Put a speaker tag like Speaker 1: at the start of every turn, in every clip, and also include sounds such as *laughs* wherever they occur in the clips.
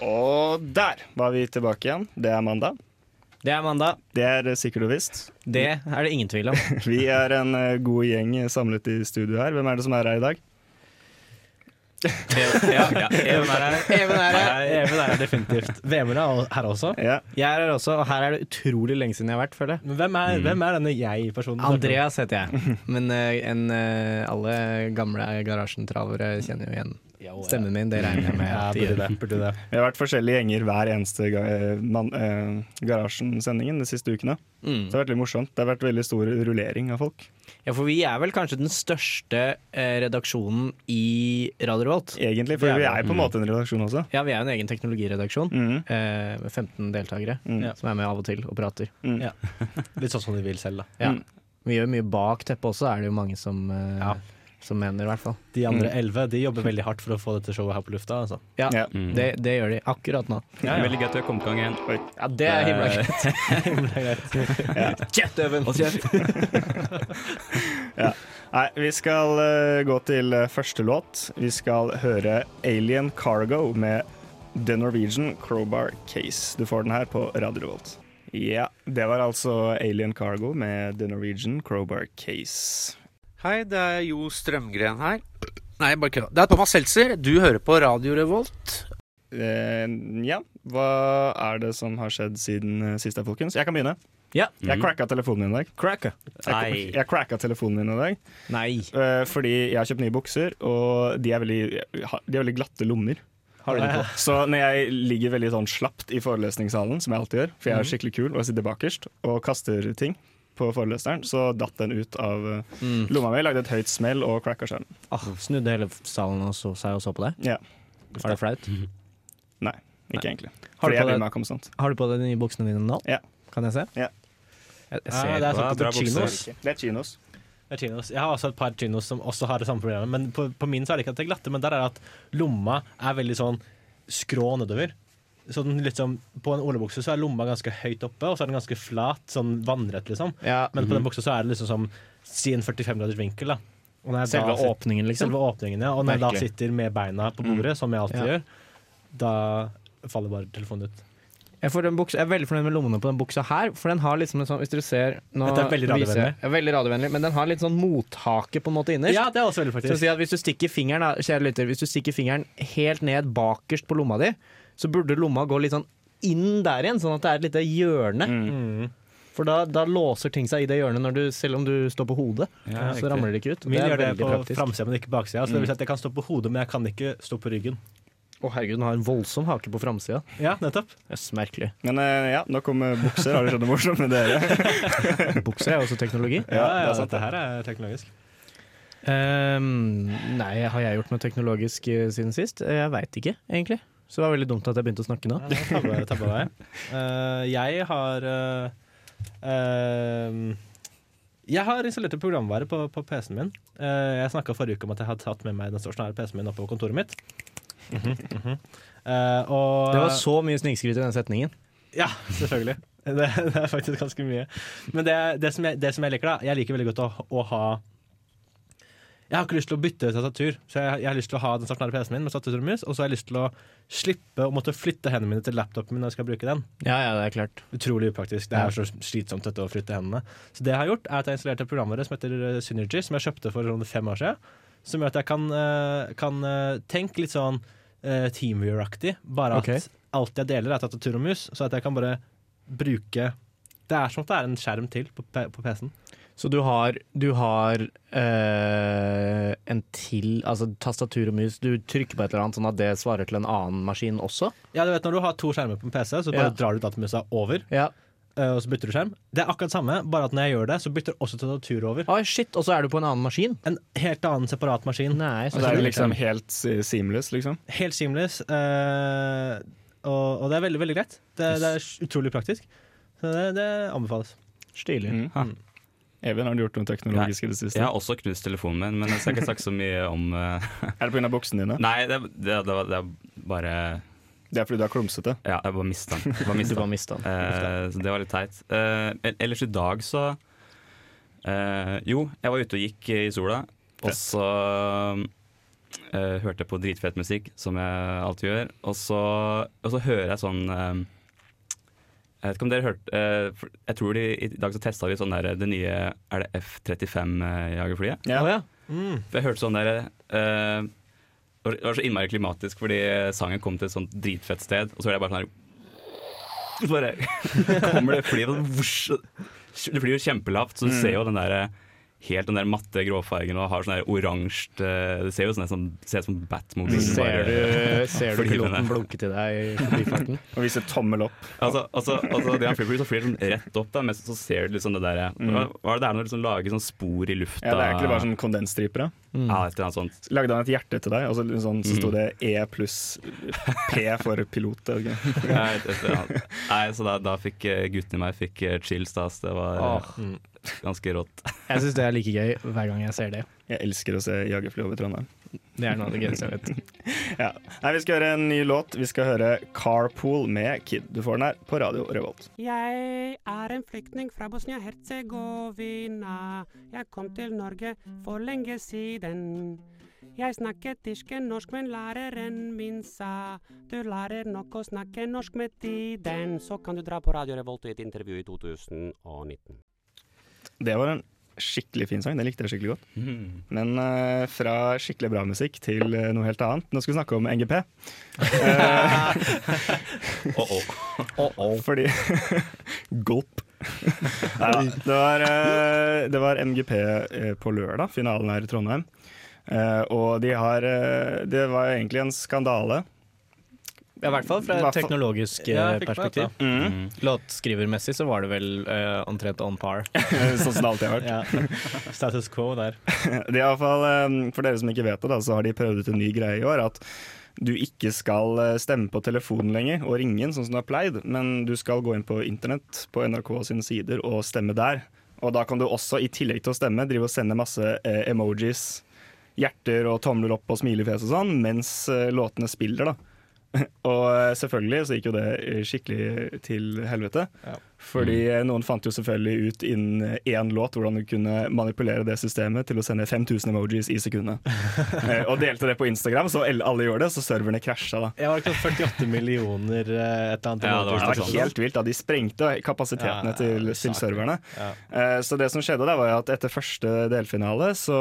Speaker 1: Og der var vi tilbake igjen. Det er mandag.
Speaker 2: Det er mandag.
Speaker 1: Det er eh, sikkert og visst.
Speaker 2: Det er det ingen *laughs* tvil om.
Speaker 1: Vi er en eh, god gjeng samlet i studio her. Hvem er det som er her i dag?
Speaker 2: ja, ja. Even er her. Even er her. Even er her definitivt. Vemund er her også.
Speaker 1: Ja.
Speaker 2: Jeg er her også, og her er det utrolig lenge siden jeg har vært, føler jeg. Mm.
Speaker 3: Men hvem er, hvem er denne jeg-personen?
Speaker 2: Andreas heter jeg, *laughs* men eh, en, eh, alle gamle garasjentravere kjenner jo igjen stemmen min. Det regner jeg med.
Speaker 3: Ja,
Speaker 2: at de
Speaker 3: burde
Speaker 2: gjør.
Speaker 3: det, burde det.
Speaker 1: Vi har vært forskjellige gjenger hver eneste ga eh, man- eh, Garasjen-sendingen de siste ukene.
Speaker 2: Mm.
Speaker 1: Så det har vært litt morsomt. Det har vært veldig stor rullering av folk.
Speaker 2: Ja, for vi er vel kanskje den største eh, redaksjonen i Radio Revolt.
Speaker 1: Egentlig, for
Speaker 2: Det er
Speaker 1: vi
Speaker 2: det.
Speaker 1: er på en måte en redaksjon også.
Speaker 2: Ja, vi er jo en egen teknologiredaksjon
Speaker 1: Mhm.
Speaker 2: eh, med 15 deltakere
Speaker 1: Mm.
Speaker 3: Ja.
Speaker 2: som er med av og til og prater.
Speaker 3: *laughs* Litt sånn som du vil selv, da.
Speaker 2: Ja.
Speaker 1: Mm.
Speaker 2: Vi gjør mye bak teppet også, er det jo mange som, eh,
Speaker 3: Ja.
Speaker 2: som mener, i hvert fall.
Speaker 3: De andre elleve de jobber veldig hardt for å få dette showet her på lufta. Altså.
Speaker 2: Ja,
Speaker 1: Ja.
Speaker 2: det, det gjør de akkurat nå. Eh,
Speaker 3: Ja, ja.
Speaker 4: Veldig gøy at du kom i gang igjen.
Speaker 2: Ja, det er himla *laughs* greit. Kjeft, Øven!
Speaker 4: Hold kjeft.
Speaker 1: Nei, vi skal eh, gå til eh, første låt. Vi skal høre Alien Cargo med The Norwegian Crowbar Case. Du får den her på Radio Revolt. Ja, det var altså Alien Cargo med The Norwegian Crowbar Case.
Speaker 5: Hei, det er Jo Strømgren her. Nei, bare kødda. Det er Thomas Seltzer. Du hører på Radio Revolt.
Speaker 1: Eh, ja, hva er det som har skjedd siden eh, sist da, folkens? Jeg kan begynne.
Speaker 2: Ja.
Speaker 3: Mhm. Mm.
Speaker 1: Jeg cracka telefonen min i dag.
Speaker 2: Cracker.
Speaker 1: Jeg, jeg cracka telefonen min i dag
Speaker 2: Nei.
Speaker 1: eh, fordi jeg har kjøpt nye bukser, og de er veldig, de har veldig glatte lommer.
Speaker 3: Har du det på?
Speaker 1: Så når jeg ligger veldig sånn slapt i forelesningssalen, som jeg alltid gjør, for jeg er skikkelig kul og jeg sitter bakerst og kaster ting på foreleseren, så datt den ut av eh, lomma mi, lagde et høyt smell og cracka skjermen.
Speaker 2: Ah, snudde hele salen og så, seg og så på deg.
Speaker 1: Ja.
Speaker 2: Var det flaut?
Speaker 1: Nei, ikke egentlig.
Speaker 2: Har du
Speaker 1: Fordi
Speaker 2: på
Speaker 1: jeg
Speaker 2: deg-
Speaker 1: bryr meg konstant.
Speaker 2: Har du på deg de nye buksene dine nå?
Speaker 1: Ja.
Speaker 2: Kan jeg se?
Speaker 1: Ja.
Speaker 2: Jeg, jeg
Speaker 3: Ja,
Speaker 2: ser
Speaker 3: det er
Speaker 2: på
Speaker 3: sånn
Speaker 2: deg.
Speaker 3: på chinos.
Speaker 1: Det er chinos.
Speaker 3: Det er chinos. Jeg har også et par chinos som også har det samme problemet. Men på, på min så er det ikke at det er glatte, men der er det at lomma er veldig sånn skrå nedover. Så den liksom, på en olabukse så er lomma ganske høyt oppe, og så er den ganske flat, sånn vannrett, liksom.
Speaker 2: Ja,
Speaker 3: Men på den buksa så er det liksom som si en 45 graders vinkel, da. Og når jeg da
Speaker 2: selve
Speaker 3: sitter-
Speaker 2: åpningen, liksom.
Speaker 3: Selve åpningen, ja. Og når jeg da
Speaker 2: Merkelig. Mhm.
Speaker 3: sitter med beina på bordet, som jeg alltid
Speaker 2: Ja.
Speaker 3: gjør, da faller bare telefonen ut.
Speaker 2: Jeg, får den buksa, jeg er veldig fornøyd med lommene på den buksa her, for den har liksom en sånn Hvis dere ser nå
Speaker 3: Dette er veldig
Speaker 2: viser jeg- Ja, veldig radiovennlig, men den har litt sånn mothake på en måte innerst.
Speaker 3: Ja, det er også veldig
Speaker 2: Så å
Speaker 3: praktisk.
Speaker 2: si at hvis du stikker fingeren da, kjære lytter, hvis du stikker fingeren helt ned bakerst på lomma di, så burde lomma gå litt sånn inn der igjen, sånn at det er et lite hjørne.
Speaker 3: Mhm.
Speaker 2: For da, da låser ting seg i det hjørnet, når du, selv om du står på hodet.
Speaker 4: Ja,
Speaker 2: så
Speaker 4: riktig.
Speaker 2: ramler det ikke ut.
Speaker 3: Min
Speaker 2: det er
Speaker 3: gjør det
Speaker 2: veldig
Speaker 3: på
Speaker 2: praktisk. Mhm. Å
Speaker 3: framsida, men ikke baksida. Så det vil si at jeg kan stå på hodet, men jeg kan ikke stå på ryggen.
Speaker 2: herregud, den har en voldsom hake på framsida.
Speaker 3: Ja, nettopp.
Speaker 2: Jøss, merkelig.
Speaker 1: Men eh, ja, nok om eh, bukser. Har det skjedd noe morsomt med dere?
Speaker 2: Bukser er jo også teknologi.
Speaker 1: Ja, det er sant.
Speaker 3: Dette her er teknologisk.
Speaker 2: Ehm, nei, har jeg gjort noe teknologisk eh, siden sist? Eh, Jeg veit ikke, egentlig. Så det var veldig dumt at jeg begynte å snakke nå.
Speaker 3: Ja, da tabba, tabba jeg. Eh, jeg har eh, eh, Jeg har installert en programvare på, på PC-en min. Eh, jeg snakka forrige uke om at jeg hadde tatt med meg den stasjonære PC-en min oppe på kontoret mitt. Mhm, mhm. Eh, og,
Speaker 2: Det var så mye snikskryt i den setningen.
Speaker 3: Ja, selvfølgelig. *laughs* Det, det er faktisk ganske mye. Men det, det, som jeg, det som jeg liker, da Jeg liker veldig godt å, å ha Jeg har ikke lyst til å bytte tastatur, så jeg, jeg har lyst til å ha den stasjonære PC-en min med tastatur og mus, og så har jeg lyst til å slippe å måtte flytte hendene mine til laptopen min når jeg skal bruke den.
Speaker 2: Ja, ja, det er klart.
Speaker 3: Utrolig upraktisk. Det er så slitsomt dette å flytte hendene. Så det jeg har gjort, er at jeg installerte et programvare som heter eh, Synergy, som jeg kjøpte for sånn fem år siden. Som gjør at jeg kan, eh, kan eh, tenke litt sånn eh, Teamviewer-aktig. Bare at
Speaker 2: Ok.
Speaker 3: alt jeg deler, er tastatur og mus, så at jeg kan bare bruke Det er som at det er en skjerm til på, P- på PC-en.
Speaker 2: Så du har, du har eh, en til Altså tastatur og mus. Du trykker på et eller annet sånn at det svarer til en annen maskin også?
Speaker 3: Ja, du vet når du har to skjermer på en PC, så
Speaker 2: Ja.
Speaker 3: bare drar du datamusa over,
Speaker 2: Ja.
Speaker 3: eh, og så bytter du skjerm. Det er akkurat samme, bare at når jeg gjør det, så bytter også tastatur over.
Speaker 2: Oi, shit, og så er du på en annen maskin?
Speaker 3: En helt annen separat maskin.
Speaker 2: Nei,
Speaker 1: *laughs* *laughs* Så
Speaker 2: så
Speaker 1: det er
Speaker 2: kult.
Speaker 1: liksom helt eh, seamless, liksom.
Speaker 3: Helt seamless. eh, Og, og det er veldig veldig greit. Det, det er utrolig praktisk. Så det, det anbefales.
Speaker 2: Stilig.
Speaker 1: Mm.
Speaker 4: Ha.
Speaker 1: Even, har du gjort noe teknologisk i det siste?
Speaker 4: Jeg har også knust telefonen min, men jeg skal ikke snakke så mye om eh, *laughs*
Speaker 1: Er det pga. buksene dine?
Speaker 4: Nei, det, det, det, var- det er bare
Speaker 1: Det er fordi du er klumsete?
Speaker 4: Ja, jeg bare mista den. Jeg bare
Speaker 2: Du
Speaker 4: mistet
Speaker 2: bare
Speaker 4: den.
Speaker 2: mista den.
Speaker 4: Eh, så det var litt teit. Eh, ell- ellers i dag så eh, Jo, jeg var ute og gikk i sola, og
Speaker 1: Fett.
Speaker 4: så eh, hørte jeg på dritfet musikk, som jeg alltid gjør, og så, og så hører jeg sånn eh, jeg vet ikke om dere hørte eh, for- Jeg tror de, I dag så testa vi sånn der, det nye Er det eh, F-35-jagerflyet?
Speaker 1: Ja.
Speaker 3: Mm.
Speaker 4: For Jeg hørte sånn der eh, Det var så innmari klimatisk fordi sangen kom til et sånt dritfett sted, og så hørte jeg bare sånn her Så bare *laughs* kommer det fly sånn, vosj. Det flyr jo kjempelavt, så du
Speaker 1: Mm.
Speaker 4: ser jo den der eh, Helt den der matte gråfargen og har sånn der oransje eh, Det ser jo sånn ut som, ser ut som Batmobilen.
Speaker 1: Mm.
Speaker 2: Ser
Speaker 4: bare-
Speaker 2: du, ser du
Speaker 4: Fordi den
Speaker 2: piloten
Speaker 4: er-
Speaker 2: blunke til deg i forbifarten?
Speaker 1: Og viser tommel opp.
Speaker 4: Altså, altså, altså det han flyr, så flyr det sånn rett opp, da, men så ser du liksom det der Hva hva er det der når du liksom lager sånn spor i lufta?
Speaker 1: Mm. Ja, det er egentlig bare sånn kondensstriper. da.
Speaker 4: Ja, et eller annet sånt.
Speaker 1: Så Lagde han et hjerte til deg, og så, litt sånn, så sto det E pluss P for pilot. er det ikke?
Speaker 4: *laughs* Nei, et- et eller annet. Nei, så da, da fikk eh, guttene i meg fikk eh, chills, da. Så det var eh,
Speaker 2: Åh. Mm.
Speaker 4: ganske rått.
Speaker 2: Jeg syns det er like gøy hver gang jeg ser det.
Speaker 1: Jeg elsker å se jagerfly over Trondheim.
Speaker 2: Det er noe av det gøyeste jeg vet.
Speaker 1: Ja. Nei, vi skal høre en ny låt. Vi skal høre 'Carpool' med Kid. Du får den her på Radio Revolt.
Speaker 6: Jeg er en flyktning fra Bosnia-Hercegovina. Jeg kom til Norge for lenge siden. Jeg snakket ikke norsk, men læreren min sa du lærer nok å snakke norsk med tiden. Så kan du dra på Radio Revolt og i et intervju i 2019.
Speaker 1: Det var en skikkelig fin sang. Den likte jeg skikkelig godt. Men eh, fra skikkelig bra musikk til eh, noe helt annet. Nå skal vi snakke om NGP.
Speaker 4: Oh,
Speaker 1: *laughs*
Speaker 4: oh.
Speaker 1: Fordi *laughs* Gulp. Nei da. Det var, eh, det var MGP eh, på lørdag, finalen her i Trondheim. Eh, og de har eh, Det var jo egentlig en skandale.
Speaker 2: Ja, I hvert fall fra
Speaker 1: Hvert
Speaker 2: et
Speaker 1: fall-
Speaker 2: teknologisk eh,
Speaker 3: Ja, jeg fikk med
Speaker 2: perspektiv. Låtskrivermessig så var det vel eh, omtrent on par.
Speaker 1: *laughs* sånn som det alltid har vært.
Speaker 3: Ja. Status quo der.
Speaker 1: Det er i hvert fall, eh, For dere som ikke vet det, da, så har de prøvd ut en ny greie i år. At du ikke skal eh, stemme på telefonen lenger og ringe inn, sånn som du har pleid, men du skal gå inn på internett, på NRK sine sider, og stemme der. Og da kan du også, i tillegg til å stemme, drive og sende masse eh, emojis, hjerter og tomler opp og smilefjes og sånn, mens eh, låtene spiller, da. *laughs* Og eh, selvfølgelig så gikk jo det eh, skikkelig til helvete. Fordi
Speaker 3: Mm.
Speaker 1: eh, noen fant jo selvfølgelig ut innen én låt hvordan du kunne manipulere det systemet til å sende 5000 emojis i
Speaker 3: *laughs*
Speaker 1: sekundet. Eh, og delte det på Instagram, så el- alle gjorde det, så serverne krasja da.
Speaker 3: Jeg var ikke 48 millioner eh, et eller annet.
Speaker 4: Ja, det var
Speaker 1: Det var
Speaker 4: sånn.
Speaker 1: helt vilt da, De sprengte kapasitetene
Speaker 3: Ja,
Speaker 1: til, til
Speaker 3: saker.
Speaker 1: serverne.
Speaker 3: Ja.
Speaker 1: Eh, Så det som skjedde da var jo at etter første delfinale så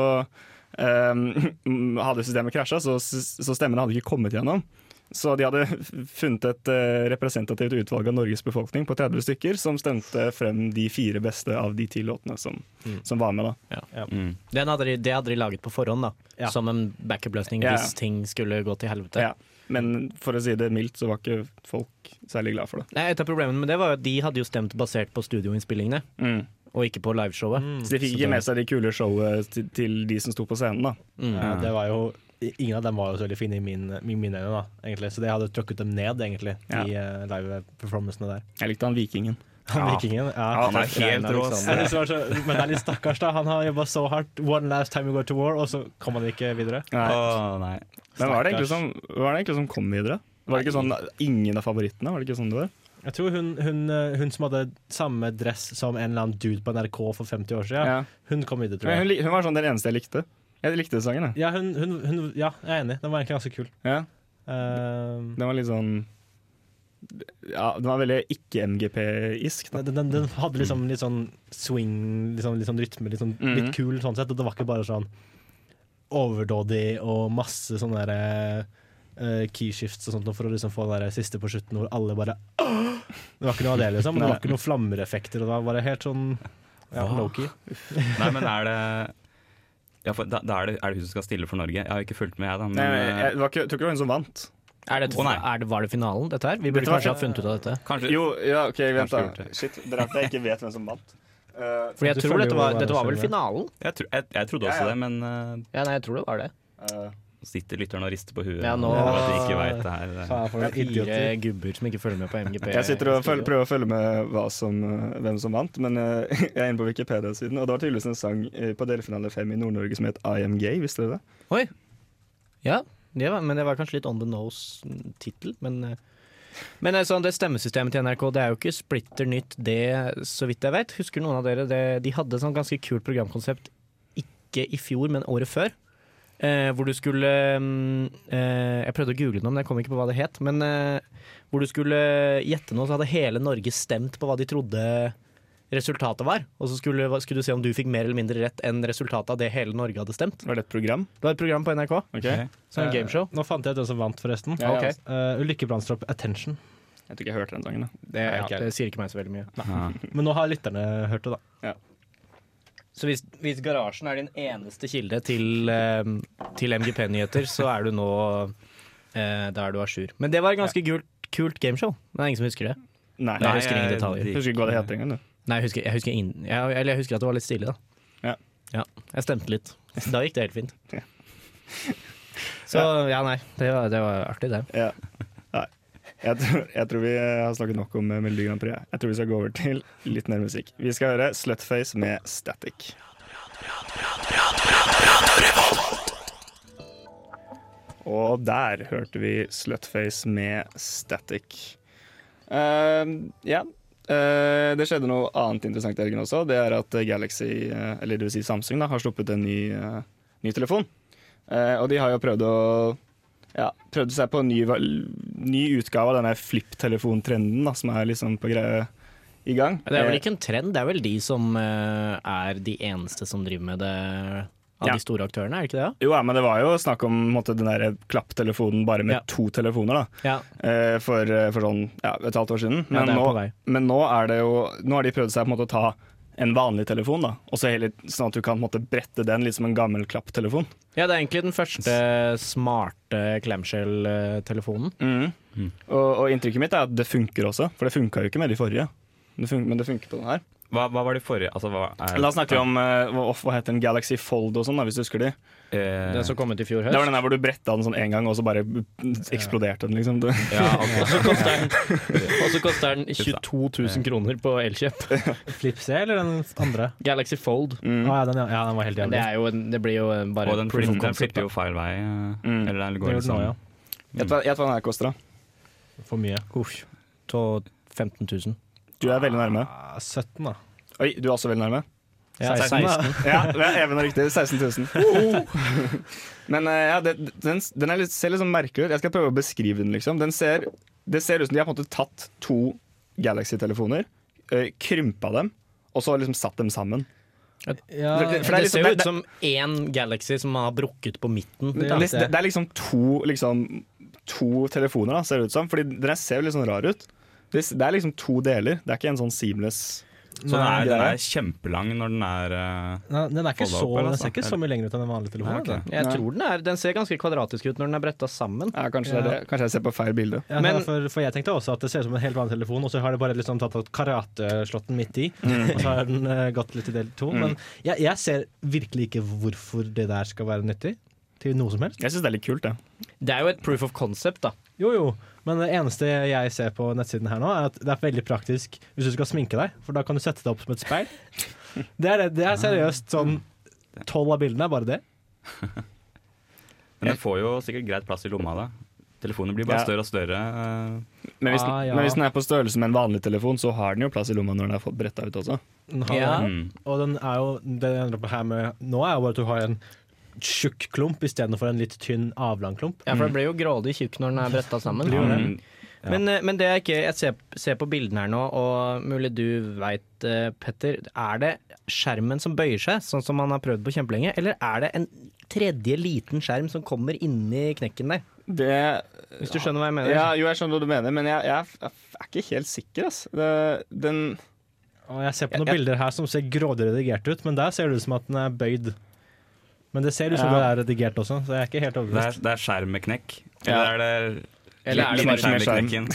Speaker 1: eh, *laughs* hadde systemet krasja, så, så stemmene hadde ikke kommet gjennom. Så de hadde *laughs* funnet et eh, representativt utvalg av Norges befolkning på 30 stykker som stemte frem de fire beste av de ti låtene som, som var med. da.
Speaker 4: Mm.
Speaker 2: Den hadde de, det hadde de laget på forhånd, da.
Speaker 3: Ja.
Speaker 2: Som en backup-løsning
Speaker 1: Ja.
Speaker 2: hvis ting skulle gå til helvete.
Speaker 1: Ja. Men for å si det mildt, så var ikke folk særlig glad for det.
Speaker 2: Nei, et av problemene med det var jo at de hadde jo stemt basert på studioinnspillingene,
Speaker 1: Mm.
Speaker 2: og ikke på liveshowet.
Speaker 3: Mm.
Speaker 1: Så de fikk ikke med seg de kule showet til, til de som sto på scenen. da.
Speaker 2: Mm.
Speaker 3: Ja, det var jo Ingen av dem var jo så veldig fine i min- min- mine øyne, da, egentlig. Så det hadde trukket dem ned, egentlig,
Speaker 1: Ja.
Speaker 3: i eh, live-performancene der.
Speaker 1: Jeg likte han vikingen.
Speaker 3: Han vikingen, ja.
Speaker 4: Han er helt rå. ass.
Speaker 3: Jeg synes det var så, men det er litt stakkars, da. Han har jobba så hardt. One last time we go to war, og så kom han ikke videre.
Speaker 1: Nei.
Speaker 4: *laughs* Åh, nei.
Speaker 1: Men hva er det egentlig
Speaker 3: Stakkars.
Speaker 1: som, hva er det egentlig som kom videre? Var det ikke sånn ingen av favorittene? Var det ikke sånn det var?
Speaker 3: Jeg tror hun, hun, eh, hun som hadde samme dress som en eller annen dude på NRK for 50 år siden,
Speaker 1: Ja.
Speaker 3: hun kom videre, tror
Speaker 1: Men Hun,
Speaker 3: jeg.
Speaker 1: li- hun var sånn den eneste jeg likte. Jeg likte sangen, jeg.
Speaker 3: Ja, hun, hun, hun, ja, jeg er enig. Den var egentlig ganske kul.
Speaker 1: Ja,
Speaker 3: Eh,
Speaker 1: den var litt sånn ja, Den var veldig ikke-MGP-isk. da.
Speaker 3: Den, den, den hadde liksom litt sånn swing, liksom, litt sånn rytme, litt, sånn,
Speaker 1: Mhm.
Speaker 3: litt kul sånn sett. Og det var ikke bare sånn overdådig og masse sånne der, eh, keyshifts og sånt noe for å liksom få den der siste på slutten hvor alle bare *gasps* «Åh!» Det var ikke noe av det, liksom. Det var ikke noen flammereffekter. Og det var bare helt sånn ja,
Speaker 4: Hva?
Speaker 3: low-key.
Speaker 4: Nei, men er det ja, for da, da er, det, er det hun som skal stille for Norge? Jeg har ikke fulgt med, jeg, da. Men, eh,
Speaker 1: Nei, men jeg, det var ikke, jeg tror ikke det var hun som vant.
Speaker 2: Er dette-
Speaker 4: Å, nei.
Speaker 2: er det, var det finalen, dette her? Vi burde
Speaker 1: Dette var-
Speaker 2: kanskje ha funnet ut av dette.
Speaker 4: eh, kanskje
Speaker 1: Jo, ja, OK, vent,
Speaker 4: Kanskje
Speaker 1: da.
Speaker 4: gjorde det.
Speaker 1: Shit, dere at jeg ikke vet hvem som vant. Eh,
Speaker 2: Fordi
Speaker 3: Du
Speaker 2: jeg tror
Speaker 3: følger
Speaker 2: dette
Speaker 3: jo
Speaker 2: var,
Speaker 3: hva
Speaker 2: dette var
Speaker 3: som
Speaker 2: vel
Speaker 3: skjer.
Speaker 2: finalen?
Speaker 4: jeg, tro, jeg, jeg trodde også
Speaker 1: Ja, ja.
Speaker 4: det, men eh,
Speaker 2: Ja, nei, jeg tror det var det.
Speaker 1: eh,
Speaker 4: Sitter lytteren og rister på huet
Speaker 2: Ja, nå-
Speaker 4: over at de ikke vet det her. eh. Det-
Speaker 2: Faen, for noen fire
Speaker 3: idioter.
Speaker 2: gubber som ikke følger med på MGP.
Speaker 1: Jeg sitter og følger, prøver å følge med hva som, eh, hvem som vant, men eh, *laughs* jeg er inne på Wikipedia-siden, og det var tydeligvis en sang eh, på delfinale fem i Nord-Norge som het I Am Gay, visste dere det?
Speaker 2: Oi! Ja, det var, men det var kanskje litt on the nose-tittel, men eh, men eh, sånn, det stemmesystemet til NRK det er jo ikke splitter nytt, det så vidt jeg vet. Husker noen av dere det? De hadde et sånn ganske kult programkonsept, ikke i fjor, men året før. Eh, hvor du skulle mm, eh, Jeg prøvde å google det, men jeg kom ikke på hva det het. Men eh, hvor du skulle gjette noe, så hadde hele Norge stemt på hva de trodde resultatet var. Og så skulle, skulle du se om du fikk mer eller mindre rett enn resultatet av det hele Norge hadde stemt.
Speaker 1: Var det et program?
Speaker 2: Det var et program på NRK.
Speaker 1: Ok.
Speaker 2: Sånn
Speaker 3: Eh,
Speaker 2: gameshow.
Speaker 3: Nå fant jeg ut hvem som vant, forresten.
Speaker 1: Ja, ja.
Speaker 2: Ok.
Speaker 3: Eh, Ulrikke Brandstorp, 'Attention'.
Speaker 1: Jeg tror ikke jeg hørte den sangen, da.
Speaker 2: Det,
Speaker 3: ja,
Speaker 2: det sier ikke meg så veldig mye.
Speaker 4: Ja.
Speaker 3: Men nå har lytterne hørt det, da.
Speaker 2: Så hvis, hvis garasjen er din eneste kilde til, eh, til MGP-nyheter, så er du nå eh, Da er du à jour. Men det var et ganske gult, kult gameshow. Men det er ingen som husker det.
Speaker 1: Nei, jeg
Speaker 2: Nei, jeg husker ingen
Speaker 4: jeg-
Speaker 2: detaljer.
Speaker 1: husker ikke hva det het engang. du.
Speaker 2: Nei, jeg husker, jeg husker, ingen, jeg, eller jeg husker at det var litt stilig, da.
Speaker 1: Ja.
Speaker 2: ja. Jeg stemte litt. Da gikk det helt fint.
Speaker 1: Ja.
Speaker 2: *laughs* Så ja, nei. Det var, det var artig, det.
Speaker 1: Ja. Nei. Jeg tror, jeg tror vi eh, har snakket nok om eh, Melodi Grand Prix. jeg. Jeg tror vi skal gå over til litt mer musikk. Vi skal høre Slutface med Static. Og der hørte vi Slutface med Static. Ehm, ja. Eh, det skjedde noe annet interessant i helgen også. Det er at eh, Galaxy, eh, eller det vil si Samsung, da, har sluppet en ny, eh, ny telefon. Eh, og de har jo prøvd å ja, prøvde seg på en ny, val- ny utgave av denne flip-telefontrenden da, som er liksom på greie i gang. Eh,
Speaker 2: Det er vel ikke en trend, det er vel de som eh, er de eneste som driver med det av
Speaker 1: Ja.
Speaker 2: de store aktørene, er det ikke det?
Speaker 1: Eh, Jo, ja, men det var jo snakk om på en måte, den der klapptelefonen bare med
Speaker 2: Ja.
Speaker 1: to telefoner, da.
Speaker 2: Ja,
Speaker 1: eh, For, eh, for sånn ja, et halvt år siden.
Speaker 2: ja
Speaker 1: Men,
Speaker 2: det er på
Speaker 1: nå,
Speaker 2: vei.
Speaker 1: men nå er det jo Nå har de prøvd seg på en måte å ta en vanlig telefon, da. Og så hele, sånn at du kan på en måte brette den litt som en gammel klapptelefon.
Speaker 2: Ja, det er egentlig den første smarte clamshell-telefonen.
Speaker 4: Mm.
Speaker 1: Og, og inntrykket mitt er at det funker også, for det funka jo ikke med de forrige. Det fun- men det funker på den her.
Speaker 4: Hva, hva var det forrige altså, hva er,
Speaker 1: Da snakker vi om eh, hva, hva heter den Galaxy Fold og sånn, da, hvis du husker de.
Speaker 4: Eh,
Speaker 2: Den som kom ut i fjor
Speaker 1: Det var
Speaker 2: høst.
Speaker 1: den der hvor du bretta den sånn én gang, og så bare eksploderte den,
Speaker 2: *laughs*
Speaker 1: liksom. Det-
Speaker 4: ja, ok.
Speaker 2: Og så koster den 22 000 kroner på Elkjøp.
Speaker 3: Flip C eller den andre?
Speaker 2: Galaxy Fold.
Speaker 3: Å,
Speaker 1: Mm.
Speaker 3: ja, den, ja, ja, den var helt
Speaker 2: Men det,
Speaker 3: jævlig.
Speaker 2: er jo en, det blir jo en- bare
Speaker 4: Og den,
Speaker 2: proof
Speaker 4: flip,
Speaker 2: of
Speaker 4: den
Speaker 2: concept, da.
Speaker 4: flipper jo feil vei. eh,
Speaker 1: Mm.
Speaker 4: Eller den
Speaker 3: Den gjorde
Speaker 4: går
Speaker 3: den
Speaker 4: liksom
Speaker 3: også, ja.
Speaker 1: Gjett hva gjett hva den her koster, da.
Speaker 3: For mye.
Speaker 2: Uff, to- 15 000.
Speaker 1: Du er veldig nærme.
Speaker 3: Ah, 17, da.
Speaker 1: Oi, du er også veldig nærme.
Speaker 3: Ja,
Speaker 2: 16, da.
Speaker 1: Ja, det er even og riktig. 16 000. Men eh, ja, det, den, den er litt, ser litt sånn merkelig ut. Jeg skal prøve å beskrive den, liksom. Den ser, det ser ut som de har på en måte tatt to Galaxy-telefoner, eh, krympa dem, og så liksom satt dem sammen.
Speaker 3: Ja,
Speaker 1: For det er
Speaker 2: det
Speaker 1: liksom-
Speaker 2: ser jo
Speaker 1: det-
Speaker 2: ut som én Galaxy som man har brukket på midten.
Speaker 1: Det,
Speaker 3: Ja,
Speaker 1: det, det er liksom to, liksom to telefoner, da, ser det ut som. Fordi den ser jo litt sånn rar ut. Det, det er liksom to deler. Det er ikke en sånn seamless
Speaker 4: Så den er, den
Speaker 1: greie.
Speaker 4: er kjempelang når den er eh,
Speaker 3: Nei, den er ikke
Speaker 4: Folda
Speaker 3: så,
Speaker 4: opp, eller
Speaker 3: den ser ikke
Speaker 4: sånn?
Speaker 3: så mye lenger ut enn en vanlig telefon.
Speaker 4: Nei, ok.
Speaker 3: altså.
Speaker 2: Jeg
Speaker 1: altså. Nei.
Speaker 2: tror den er Den ser ganske kvadratisk ut når den er bretta sammen.
Speaker 1: Ja, kanskje, Det er det. kanskje jeg ser på feil bilde.
Speaker 3: Ja,
Speaker 2: Men-
Speaker 3: nei, for, for jeg tenkte også at det ser ut som en helt vanlig telefon, og så har de bare liksom tatt ut karateslåtten midt i,
Speaker 1: Mm.
Speaker 3: og så har den eh, gått litt i del to. Men jeg, jeg ser virkelig ikke hvorfor det der skal være nyttig til noe som helst.
Speaker 1: Jeg syns det er litt kult, det.
Speaker 2: Det er jo et proof of concept, da.
Speaker 3: Jo, jo, men det eneste jeg ser på nettsiden her nå, er at det er veldig praktisk hvis du skal sminke deg, for da kan du sette deg opp som et speil. Det er, det, det er seriøst sånn tolv av bildene er bare det.
Speaker 4: Men den får jo sikkert greit plass i lomma da. Telefonen blir bare
Speaker 1: Ja.
Speaker 4: større og større. eh.
Speaker 1: Men hvis,
Speaker 3: Ah, ja.
Speaker 1: men hvis den er på størrelse med en vanlig telefon, så har den jo plass i lomma når den er fått bretta ut også.
Speaker 3: Den har
Speaker 2: Ja.
Speaker 3: det.
Speaker 4: Mm.
Speaker 3: Og den er jo det jeg endrer på her med nå, er jo bare at du har en tjukk klump istedenfor en litt tynn, avlang klump.
Speaker 2: Ja, For den blir jo grådig tjukk når den er bretta sammen.
Speaker 3: Blir jo det.
Speaker 4: Mm. Ja.
Speaker 2: Men, eh, men det jeg ikke Jeg ser, ser på bildene her nå, og mulig du veit, eh, Petter. Er det skjermen som bøyer seg, sånn som man har prøvd på kjempelenge? Eller er det en tredje liten skjerm som kommer inni knekken der?
Speaker 1: Det
Speaker 2: Hvis du skjønner hva jeg mener?
Speaker 1: ja, Jo, jeg skjønner hva du mener, men jeg, jeg, er- jeg er ikke helt sikker, ass. Det, den
Speaker 3: Og jeg ser på noen
Speaker 1: Jeg- jeg-
Speaker 3: bilder her som ser grådig redigert ut, men der ser det ut som at den er bøyd. Men det ser ut som
Speaker 1: Ja.
Speaker 3: det er redigert også, så jeg er ikke helt
Speaker 4: Det, er,
Speaker 3: overbevist.
Speaker 4: det er skjerm med knekk.
Speaker 1: Ja.
Speaker 4: Eller er det
Speaker 2: Eller er det bare
Speaker 4: skjerm med
Speaker 1: skjerm?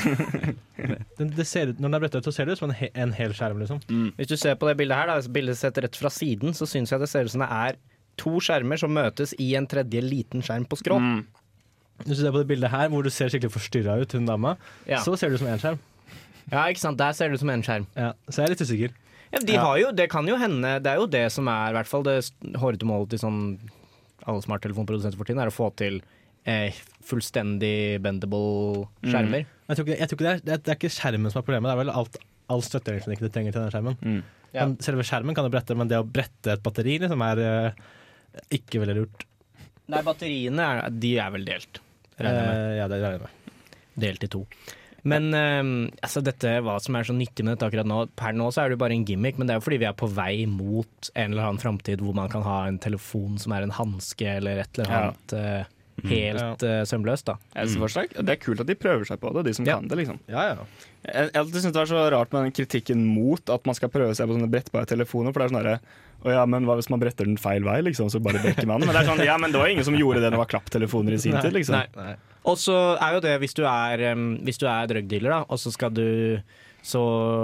Speaker 4: knekken?
Speaker 3: Den, det ser ut, når den er brettet ut, så ser det ut som en, he, en hel skjerm, liksom.
Speaker 2: Hvis du ser på det bildet her, da, hvis bildet sett rett fra siden, så syns jeg det ser ut som det er to skjermer som møtes i en tredje liten skjerm på skrått.
Speaker 1: Mm.
Speaker 3: Hvis du ser på det bildet her, hvor du ser skikkelig forstyrra ut, hun dama,
Speaker 2: Ja.
Speaker 3: så ser du ut som én skjerm.
Speaker 2: ja, ikke sant? Der ser det ut som en skjerm.
Speaker 3: Ja, så jeg er litt usikker.
Speaker 2: Ja, de har jo, det kan jo hende, det er jo det som er i hvert fall det s- hårete målet til sånn alle smarttelefonprodusenter for tiden, er å få til eh, fullstendig bendable skjermer.
Speaker 3: Jeg tror ikke, jeg tror ikke det, er, det, er, det er ikke skjermen som er problemet, det er vel alt, all støtteelektronikk du trenger til den skjermen.
Speaker 2: Ja.
Speaker 3: Men selve skjermen kan du brette, men det å brette et batteri liksom, er eh, ikke veldig lurt.
Speaker 2: Nei, batteriene er, de er vel delt. Regner jeg med.
Speaker 3: Eh, ja, det regner jeg med.
Speaker 2: Delt i to. Men eh, altså dette, hva som er så nyttig med dette akkurat nå Per nå så er det jo bare en gimmick, men det er jo fordi vi er på vei mot en eller annen framtid hvor man kan ha en telefon som er en hanske eller et eller
Speaker 1: Ja.
Speaker 2: annet eh, helt eh, sømløst, da.
Speaker 1: Jeg synes det var sterkt. Det er kult at de prøver seg på det, de som
Speaker 2: Ja.
Speaker 1: kan det. liksom.
Speaker 3: Ja, ja.
Speaker 1: Jeg jeg alltid synes det var så rart med den kritikken mot at man skal prøve seg på sånne brettbare telefoner. For det er sånn herre Å ja, men hva hvis man bretter den feil vei, liksom, så bare brekker man den? Men det er sånn, ja, men det var ingen som gjorde det når det var klapptelefoner i sin tid, liksom.
Speaker 2: Nei. Og så er jo det, hvis du er, um, hvis du er drugdealer, da, og så skal du så,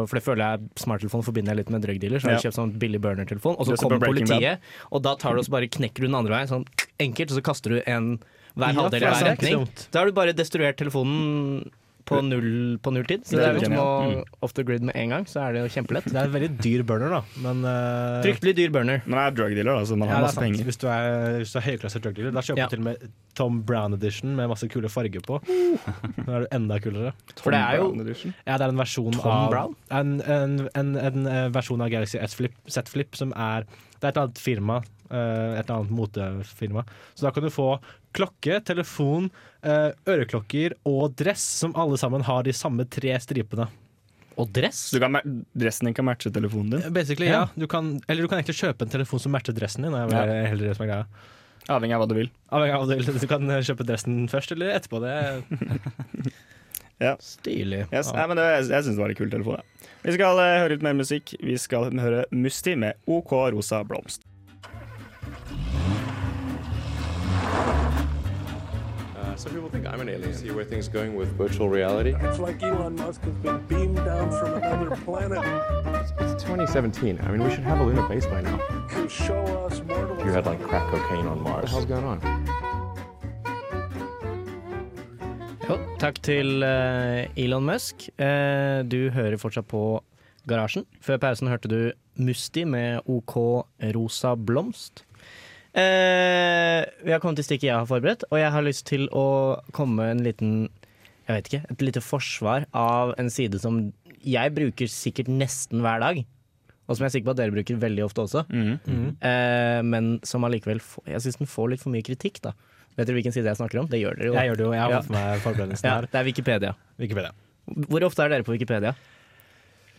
Speaker 2: For det føler jeg smarttelefonen forbinder jeg litt med drugdealer, så har jeg
Speaker 1: Ja.
Speaker 2: kjøpt sånn billig burner-telefon, og så
Speaker 1: Det ser på
Speaker 2: kommer
Speaker 1: Breaking Bad.
Speaker 2: politiet, og da tar du og så bare knekker du den andre veien, sånn enkelt, og så kaster du en hver
Speaker 3: Ja,
Speaker 2: halvdel
Speaker 3: for
Speaker 2: i
Speaker 3: det
Speaker 2: hver
Speaker 3: er ikke
Speaker 2: retning.
Speaker 3: dumt.
Speaker 2: Da har du bare destruert telefonen på null, på null tid. Så
Speaker 1: Det
Speaker 2: det
Speaker 1: er
Speaker 2: er liksom
Speaker 1: genialt.
Speaker 2: å off the grid med en gang, så er det jo kjempelett.
Speaker 3: Det er en veldig dyr burner, da, men eh,
Speaker 2: Fryktelig dyr burner.
Speaker 1: Men jeg er drug dealer, da, så man
Speaker 3: ja,
Speaker 1: har
Speaker 3: det er
Speaker 1: masse
Speaker 3: sant.
Speaker 1: penger.
Speaker 3: Hvis du er, hvis du er høyklasse drug dealer, da kjøper
Speaker 2: Ja.
Speaker 3: du til og med Tom Brown Edition med masse kule farger på.
Speaker 2: Uh.
Speaker 3: Da er du enda kulere.
Speaker 2: For det er jo
Speaker 1: Tom Brown-edition.
Speaker 3: Ja, det er en versjon
Speaker 2: Tom
Speaker 3: av
Speaker 2: Brown?
Speaker 3: En, en, en, en eh, versjon av Galaxy S Flip, Z Flip som er Det er et annet firma. eh, Et annet motefirma. Så da kan du få klokke, telefon, eh, øreklokker og dress som alle sammen har de samme tre stripene.
Speaker 2: Og dress?
Speaker 1: Så du kan, ma- dressen din kan matche telefonen din?
Speaker 3: Basically, ja. Du kan, eller du kan egentlig kjøpe en telefon som matcher dressen din. Er vel
Speaker 1: Ja.
Speaker 3: heller det som er greia.
Speaker 1: Avhengig av hva du vil.
Speaker 3: Avhengig av om du vil- Du kan eh, kjøpe dressen først eller etterpå. Det *laughs* er
Speaker 2: Stilig.
Speaker 1: Yes, nei, men det, jeg, jeg syns det var en kul telefon. Ja. Vi skal eh, høre litt mer musikk. Vi skal høre Musti med OK rosa blomst.
Speaker 7: Some people think I'm an alien. See where things going with virtual reality.
Speaker 8: It's like Elon Musk has been beamed down from another planet
Speaker 7: It's 2017. I mean, we should have a lunar base by now.
Speaker 8: to show us mortals.
Speaker 7: You had like crack cocaine on Mars. What the hell's going on?
Speaker 2: Jo, takk til eh, Elon Musk. Eh, du hører fortsatt på Garasjen. Før pausen hørte du Musti med OK rosa blomst. Eh, vi har kommet til stikket jeg har forberedt, og jeg har lyst til å komme med en liten Jeg vet ikke, et lite forsvar av en side som jeg bruker sikkert nesten hver dag. Og som jeg er sikker på at dere bruker veldig ofte også.
Speaker 3: Mhm. Mm.
Speaker 2: Eh, men som allikevel får- Jeg syns den får litt for mye kritikk, da. Vet dere hvilken side jeg snakker om? Det gjør dere jo. da.
Speaker 3: jeg gjør det jo. Jeg har
Speaker 2: Ja.
Speaker 3: fått for meg forberedelsen
Speaker 2: Ja,
Speaker 3: her.
Speaker 2: det er Wikipedia.
Speaker 3: Wikipedia.
Speaker 2: Hvor ofte er dere på Wikipedia?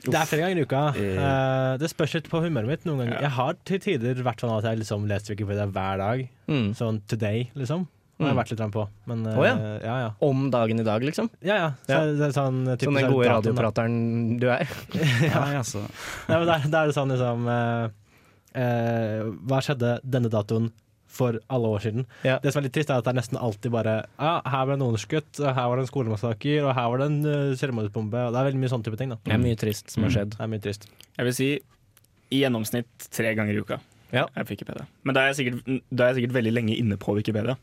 Speaker 3: Det er flere ganger i uka. Eh, det spørs litt på humøret mitt noen ganger. Jeg har til tider vært sånn at jeg liksom leser Wikipedia hver dag.
Speaker 2: Mm.
Speaker 3: Sånn today, liksom. Det har jeg vært litt grann på. Men eh,
Speaker 2: Å, ja.
Speaker 3: ja, ja.
Speaker 2: Om dagen i dag, liksom?
Speaker 3: ja, ja. Så,
Speaker 2: Ja.
Speaker 3: Det er sånn,
Speaker 2: Som
Speaker 3: eh, typisk
Speaker 2: den gode
Speaker 3: datoen, da.
Speaker 2: radioprateren du er.
Speaker 4: Nei, altså.
Speaker 3: Nei, men da- Da er det sånn liksom eh, eh, Hva skjedde denne datoen for alle år siden?
Speaker 2: Ja.
Speaker 3: Det som er litt trist, er at det er nesten alltid bare ja, Her ble noen skutt, og her var det en skolemassaker, og her var det en uh, seremoniebombe. og Det er veldig mye sånne type ting. da
Speaker 2: Det er mye trist som har skjedd.
Speaker 3: Det er mye trist.
Speaker 1: Jeg vil si i gjennomsnitt tre ganger i uka.
Speaker 2: Ja.
Speaker 1: Jeg på Wikipedia. Men da er, jeg sikkert, da er jeg sikkert veldig lenge inne på Wikipedia.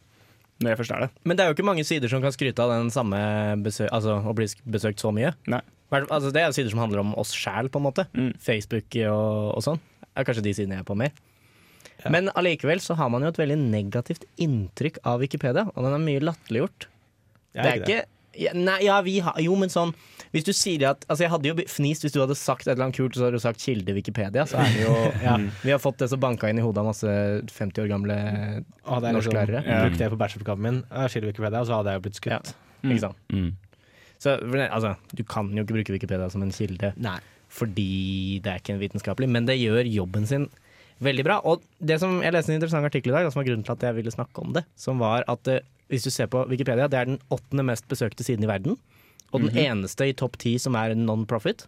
Speaker 1: Når jeg først er det.
Speaker 2: Men det er jo ikke mange sider som kan skryte av den samme besø- altså, å bli sk- besøkt så mye.
Speaker 1: Nei.
Speaker 2: Hvert- Altså, det er jo sider som handler om oss sjæl, på en måte.
Speaker 1: Mm.
Speaker 2: Facebook og, og sånn. Er kanskje de sidene jeg er på mer. Men allikevel så har man jo et veldig negativt inntrykk av Wikipedia, og den er mye latterliggjort.
Speaker 3: Jeg
Speaker 2: det er ikke ja, Nei, ja, vi har Jo, men sånn Hvis du sier at Altså, jeg hadde jo be- fnist hvis du hadde sagt et eller annet kult, og så hadde du sagt kilde Wikipedia, så er det jo ja, Vi har fått det som banka inn i hodet av masse 50 år gamle
Speaker 3: Å, det er liksom,
Speaker 2: Norsklærere.
Speaker 3: Jeg brukte det på bacheloroppgaven min, jeg skiller Wikipedia, og så hadde jeg jo blitt
Speaker 2: Ja.
Speaker 3: skutt.
Speaker 2: Ikke sant?
Speaker 4: Mm.
Speaker 2: Så for det- altså, du kan jo ikke bruke Wikipedia som en kilde
Speaker 3: Nei.
Speaker 2: fordi det er ikke en vitenskapelig, men det gjør jobben sin veldig bra. Og det som jeg leste en interessant artikkel i dag, som var grunnen til at jeg ville snakke om det, som var at eh, hvis du ser på Wikipedia, det er den åttende mest besøkte siden i verden, og
Speaker 1: Mhm.
Speaker 2: den eneste i topp ti som er en non-profit.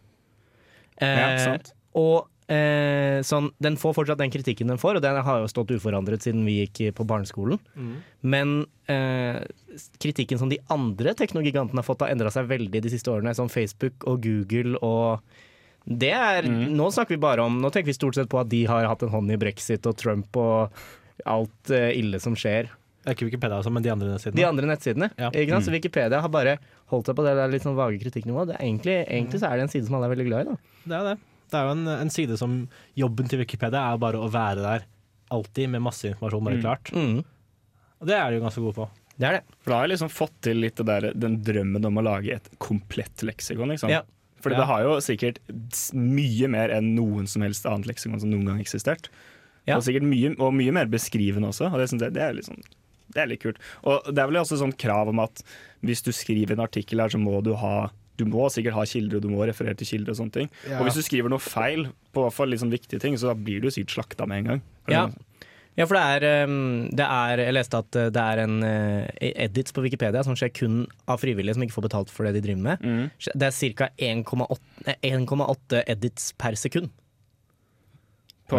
Speaker 1: Ja, sant.
Speaker 2: Og eh, sånn, den får fortsatt den kritikken den får, og den har jo stått uforandret siden vi gikk på barneskolen.
Speaker 1: Mhm.
Speaker 2: Men eh, kritikken som de andre teknogigantene har fått, har endra seg veldig de siste årene, som Facebook og Google og
Speaker 3: Mm.
Speaker 2: det er, Nå snakker vi bare om Nå tenker vi stort sett på at de har hatt en hånd i brexit og Trump og alt eh, ille som skjer.
Speaker 3: Det er ikke Wikipedia, altså, men de andre nettsidene.
Speaker 2: De andre nettsidene.
Speaker 3: Ja. Mm.
Speaker 2: Ikke sant? Så Wikipedia har bare holdt seg på det der litt sånn vage kritikknivået. Det er egentlig,
Speaker 3: Mm.
Speaker 2: egentlig så er det en side som alle er veldig glad i. Da.
Speaker 3: Det er jo det. Det er jo en, en side som Jobben til Wikipedia er bare å være der alltid med masse informasjon, bare klart.
Speaker 2: Mm.
Speaker 3: Og det er de jo ganske gode på.
Speaker 2: Det er det.
Speaker 1: For da har jeg liksom fått til litt det der, den drømmen om å lage et komplett leksikon. Ikke sant?
Speaker 2: Ja.
Speaker 1: Fordi
Speaker 3: Ja.
Speaker 1: det har jo sikkert s- mye mer enn noen som helst annet leksikon som noen gang har eksistert.
Speaker 2: Ja.
Speaker 1: Og sikkert mye, og mye mer beskrivende også, og det synes jeg det er litt sånn det er litt kult. Og det er vel også sånn krav om at hvis du skriver en artikkel her, så må du ha du må sikkert ha kilder, og du må referere til kilder og sånne ting. Og hvis du skriver noe feil på hvert fall litt sånn viktige ting, så da blir du sikkert slakta med en gang.
Speaker 2: Ja. Ja, for det er, ehm, det er Jeg leste at eh, det er en eh, edits på Wikipedia som skjer kun av frivillige som ikke får betalt for det de driver med.
Speaker 1: Mm.
Speaker 2: Det er ca. 1,8 edits per sekund
Speaker 1: På,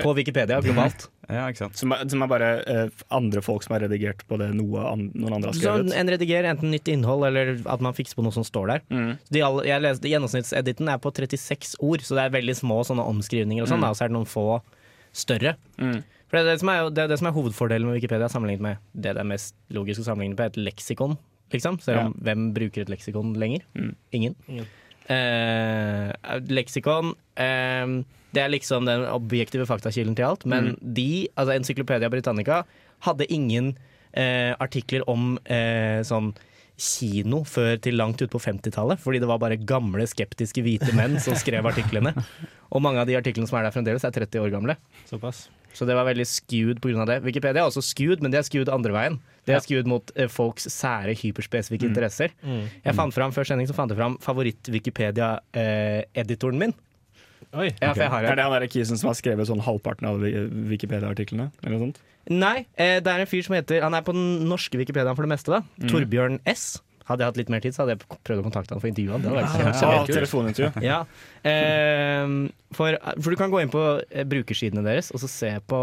Speaker 2: på Wikipedia
Speaker 1: *laughs*
Speaker 2: globalt.
Speaker 4: Ja, ikke sant.
Speaker 1: som, er, som er bare eh, andre folk som har redigert på det noe an, noen andre har
Speaker 2: Så
Speaker 1: skrevet.
Speaker 2: en redigerer enten nytt innhold eller at man fikser på noe som står der.
Speaker 1: Mm.
Speaker 2: De alle, jeg leste, gjennomsnittsediten er på 36 ord, så det er veldig små sånne omskrivninger og sånn, da, og så er det noen få større.
Speaker 1: Mm.
Speaker 2: For det er det som er, jo- det er det som er hovedfordelen med Wikipedia sammenlignet med det det er mest logisk å sammenligne med, et leksikon, liksom. Selv om hvem bruker et leksikon lenger?
Speaker 1: Mm.
Speaker 2: Ingen. Eh, leksikon eh, Det er liksom den objektive faktakilden til alt, men de, altså Encyklopedia Britannica, hadde ingen eh, artikler om eh, sånn kino før til langt ut på 50-tallet, fordi det var bare gamle, skeptiske hvite menn som skrev artiklene. Og mange av de artiklene som er der fremdeles, er 30 år gamle.
Speaker 3: Såpass.
Speaker 2: Så det var veldig skewed pga. det. Wikipedia er også skewed, men de er skewed andre veien. De er skewed mot eh, folks sære,
Speaker 1: Mm.
Speaker 2: hyperspesifikke interesser. Jeg fant fram, Før sending så fant jeg fram favoritt-Wikipedia-editoren min.
Speaker 3: Oi.
Speaker 2: Ja, for jeg har
Speaker 1: Er
Speaker 2: en.
Speaker 1: det han der kisen som har skrevet sånn halvparten av Wi- Wikipedia-artiklene? Eller noe sånt?
Speaker 2: Nei, eh, det er en fyr som heter Han er på den norske Wikipediaen for det meste, da.
Speaker 1: Mm.
Speaker 2: Torbjørn S. Hadde jeg hatt litt mer tid, så hadde jeg prøvd å kontakte han for intervjuet. Det hadde vært kjempe-
Speaker 1: Ja, telefonintervju.
Speaker 2: *laughs* ja. Ehm, for, for du kan gå inn på eh, brukersidene deres og så se på,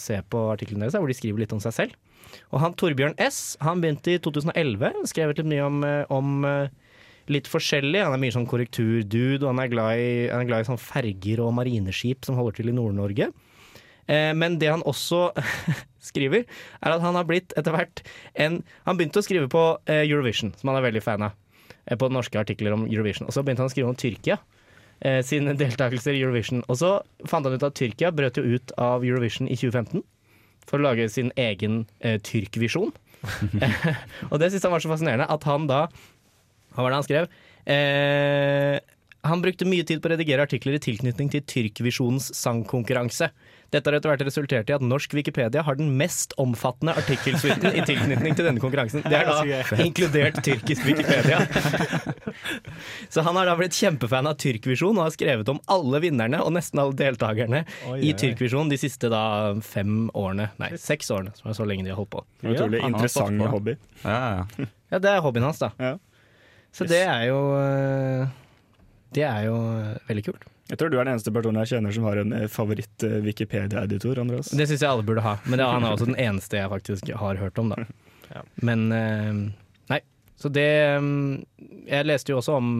Speaker 2: se på artiklene deres, der, hvor de skriver litt om seg selv. Og han Torbjørn S han begynte i 2011, skrevet litt mye om, eh, om eh, litt forskjellig. Han er mye sånn korrekturdude, og han er glad i, han er glad i sånn ferger og marineskip som holder til i Nord-Norge. Eh, Men det han også *laughs* skriver, er at han har blitt etter hvert en Han begynte å skrive på eh, Eurovision, som han er veldig fan av. eh, På norske artikler om Eurovision. Og så begynte han å skrive om Tyrkia. eh, Sine *laughs* deltakelser i Eurovision. Og så fant han ut at Tyrkia brøt jo ut av Eurovision i 2015. For å lage sin egen eh, Tyrk-visjon. *laughs* og det syntes han var så fascinerende at han da Hva var det han skrev? Eh, han brukte mye tid på å redigere artikler i tilknytning til Tyrkvisjonens sangkonkurranse. Dette har etter hvert resultert i at norsk Wikipedia har den mest omfattende artikkelsuiten i tilknytning til denne konkurransen. Det er da inkludert tyrkisk Wikipedia. Så han har da blitt kjempefan av Tyrkvisjon og har skrevet om alle vinnerne og nesten alle deltakerne
Speaker 3: Oi,
Speaker 2: i
Speaker 3: oi, oi.
Speaker 2: Tyrkvisjon de siste da fem årene, nei seks årene, som er så lenge de har holdt på.
Speaker 1: Utrolig
Speaker 4: han har stått
Speaker 1: interessant
Speaker 4: på.
Speaker 1: hobby.
Speaker 4: Ja, ja.
Speaker 2: Ja, det er hobbyen hans, da.
Speaker 1: Ja.
Speaker 2: Så det er jo eh, Det er jo eh, veldig kult.
Speaker 1: Jeg tror du er den eneste personen jeg kjenner som har en eh, favoritt-Wikipedia-editor. Andreas
Speaker 2: Det syns jeg alle burde ha, men det er han er også den eneste jeg faktisk har hørt om, da. Men eh, Nei. Så det eh, Jeg leste jo også om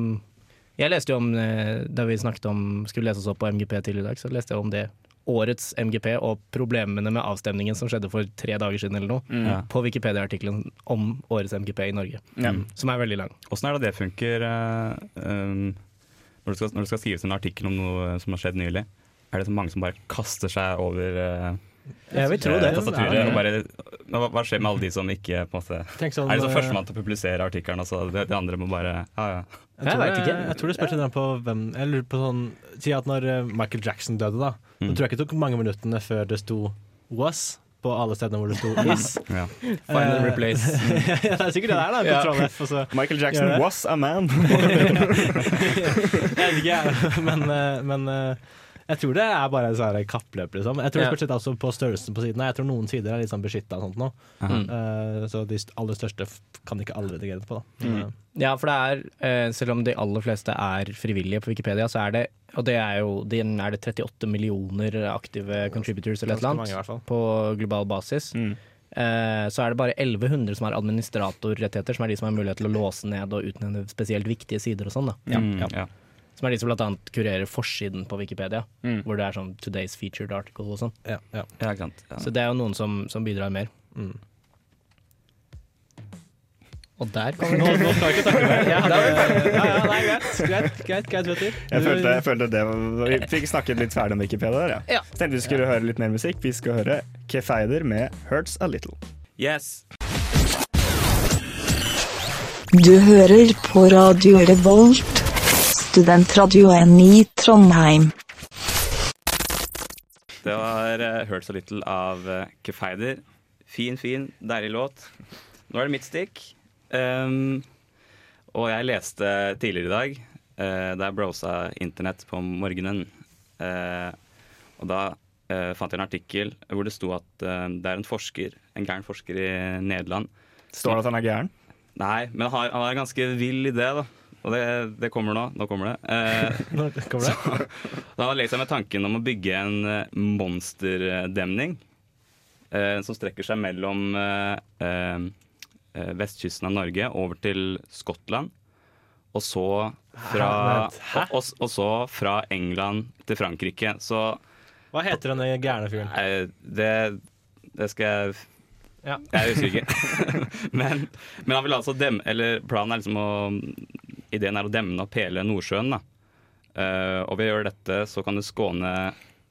Speaker 2: Jeg leste jo om eh, da vi snakket om skulle lese oss opp på MGP tidligere i dag, så leste jeg om det. Årets MGP og problemene med avstemningen som skjedde for tre dager siden eller noe,
Speaker 4: ja.
Speaker 2: på Wikipedia-artikkelen om årets MGP i Norge, mm,
Speaker 1: Ja.
Speaker 2: som er veldig lang.
Speaker 4: Åssen er det det funker eh, um, når, det skal, når det skal skrives en artikkel om noe som har skjedd nylig? Er det så mange som bare kaster seg over eh,
Speaker 2: Jeg vil
Speaker 4: eh, tastaturet? og bare, men hva, hva skjer med alle de som ikke på en måte,
Speaker 3: Tenk sånn,
Speaker 4: Er det sånn
Speaker 3: eh,
Speaker 4: førstemann til å publisere artikkelen, og så de, de andre må bare ja, ja.
Speaker 3: Jeg tror,
Speaker 2: Jeg vet
Speaker 3: det-
Speaker 2: ikke.
Speaker 3: jeg tror det spørs litt på hvem Jeg lurer på sånn Si at når eh, Michael Jackson døde, da,
Speaker 4: Mm.
Speaker 3: så tror jeg ikke det tok mange minuttene før det sto was på alle stedene hvor det sto is.
Speaker 4: Mm, ja.
Speaker 3: Final
Speaker 4: replace.
Speaker 3: *laughs* ja, det er sikkert det der, da. Control F, og så
Speaker 1: *laughs*
Speaker 3: *laughs*
Speaker 1: Michael Jackson
Speaker 3: Gjør det.
Speaker 1: was a man.
Speaker 3: Jeg vet ikke, jeg. *laughs* Men, eh, men eh, jeg tror det er bare sånne her kappløp, liksom. Jeg tror det
Speaker 2: Ja.
Speaker 3: spørs litt altså på størrelsen på sidene. Jeg tror noen sider er litt sånn beskytta og sånt nå.
Speaker 2: Mm.
Speaker 3: Eh, så de st- aller største f- kan ikke alle redigere på, da. Men, eh,
Speaker 2: Ja, for det er, eh, selv om de aller fleste er frivillige på Wikipedia, så er det, og det er jo den- er det 38 millioner aktive contributors eller et eller
Speaker 3: ganske mange, i
Speaker 2: annet
Speaker 3: hvert fall.
Speaker 2: på global basis, eh, så er det bare 1100 som har administratorrettigheter, som er de som har mulighet til å låse ned og utnevne spesielt viktige sider og sånn, da.
Speaker 4: Mm, ja.
Speaker 9: Som er de som blant annet kurerer forsiden på Wikipedia,
Speaker 1: Mm.
Speaker 9: hvor det er sånn 'Today's featured article' og sånn.
Speaker 3: Ja, ja.
Speaker 4: Ja, ikke sant. Ja.
Speaker 9: Så det er jo noen som, som bidrar mer.
Speaker 3: Mm.
Speaker 9: Og der
Speaker 3: Nå,
Speaker 9: kommer det
Speaker 3: nå skal jeg ikke snakke mer. Jeg har det- Ja, ja, nei, greit, greit, greit, greit, Petter.
Speaker 1: Jeg
Speaker 3: Du-
Speaker 1: følte, jeg følte det var, Vi fikk snakket litt ferdig om Wikipedia der, ja.
Speaker 9: Ja.
Speaker 1: Tenkte vi skulle høre litt mer musikk. Vi skal høre Kefeider med 'Hurts A Little'.
Speaker 4: Yes!
Speaker 10: Du hører på Radio Revolt, studentradioen i Trondheim.
Speaker 4: Det var uh, Hurts a Little av eh, Kefeider. Fin, fin, deilig låt. Nå er det mitt stikk. Um, og jeg leste tidligere i dag eh, Da jeg browsa internett på morgenen. eh, og da eh, fant jeg en artikkel hvor det sto at eh, det er en forsker, en gæren forsker i Nederland
Speaker 1: Står det at han er gæren?
Speaker 4: Nei, men han har, han har en ganske vill idé, da. Og det, det kommer nå. Nå kommer det. Eh,
Speaker 3: *laughs* Nå kommer det.
Speaker 4: Da har lekt seg med tanken om å bygge en eh, monsterdemning eh, som strekker seg mellom eh, eh, eh, vestkysten av Norge over til Skottland, og så fra,
Speaker 3: Hæ?
Speaker 4: og, og så fra England til Frankrike. Så
Speaker 3: Hva heter den gærne fyren?
Speaker 4: eh, det, det skal jeg
Speaker 3: Ja.
Speaker 4: Jeg husker ikke. *laughs* men, men han vil altså demme Eller planen er liksom å Ideen er å demme opp hele Nordsjøen, da. Eh, og ved å gjøre dette så kan du skåne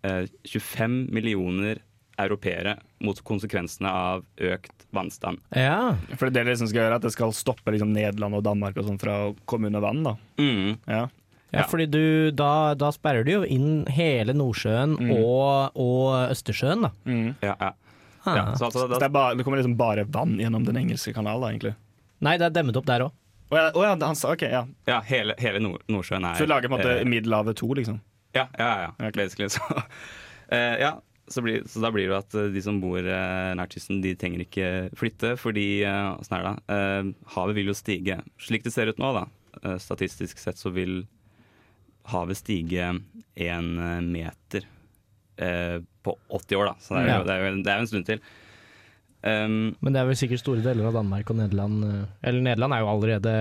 Speaker 4: eh, 25 millioner europeere mot konsekvensene av økt vannstand.
Speaker 9: Ja.
Speaker 1: For det er det liksom skal gjøre at det skal stoppe liksom Nederland og Danmark og sånn fra å komme under vann. da
Speaker 4: Mm.
Speaker 1: ja.
Speaker 9: Ja,
Speaker 4: Ja.
Speaker 9: fordi du, da, da sperrer du jo inn hele Nordsjøen
Speaker 1: Mm.
Speaker 9: og, og Østersjøen, da.
Speaker 4: Ja, ja.
Speaker 9: Ah.
Speaker 4: ja. Så altså,
Speaker 1: Så
Speaker 4: da,
Speaker 1: det, er bare, det kommer liksom bare vann gjennom den engelske kanal, da, egentlig.
Speaker 9: Nei, det er demmet opp der òg.
Speaker 1: Å ja, å ja, han sa OK, ja.
Speaker 4: ja, hele, hele Nord Nordsjøen er
Speaker 1: Så du lager på en
Speaker 4: eh,
Speaker 1: måte Middelhavet 2, liksom.
Speaker 4: Ja, ja, ja.
Speaker 1: Ok.
Speaker 4: Basically, så, *laughs* Eh, ja så, blir, så da blir det jo at eh, de som bor eh, nær kysten, de trenger ikke flytte, fordi eh, åssen er det da? Eh, havet vil jo stige. Slik det ser ut nå, da. eh, statistisk sett så vil havet stige én meter eh, på 80 år, da. Så det er, jo-
Speaker 9: Ja.
Speaker 4: det er, jo- det er jo en stund til. Um,
Speaker 9: Men det er vel sikkert store deler av Danmark og Nederland eh, Eller Nederland er jo allerede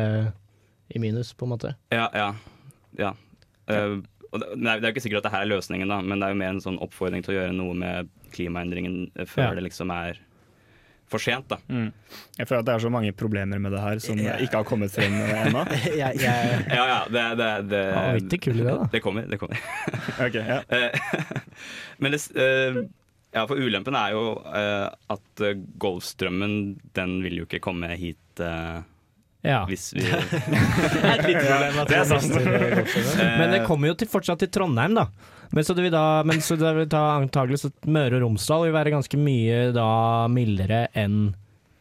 Speaker 9: i minus, på en
Speaker 3: *laughs*
Speaker 9: måte.
Speaker 4: Ja, ja. ja. Eh, og det, det er det er jo ikke sikkert at det her er løsningen, da, men det er jo mer en sånn oppfordring til å gjøre noe med klimaendringen eh, før
Speaker 9: Ja.
Speaker 4: det liksom er for sent. da.
Speaker 1: Jeg føler at det er så mange problemer med det her som
Speaker 4: mm. Ja.
Speaker 1: ikke har kommet frem ennå.
Speaker 4: *laughs*
Speaker 9: Jeg, jeg...
Speaker 4: Ja, ja, det, det, det,
Speaker 9: Vanvittig kul idé, da.
Speaker 4: det kommer. det kommer.
Speaker 1: Ok, ja.
Speaker 4: Eh, *laughs* men det, s- eh, ja, for ulempen er jo eh, at eh, Golfstrømmen den vil jo ikke komme hit eh,
Speaker 9: Ja.
Speaker 4: hvis vi
Speaker 1: Det er sant.
Speaker 9: *laughs* Men
Speaker 4: eh,
Speaker 9: det kommer jo til, fortsatt til Trondheim, da. Men så det vil da men så det vil ta antakelig så Møre og Romsdal vil være ganske mye da mildere enn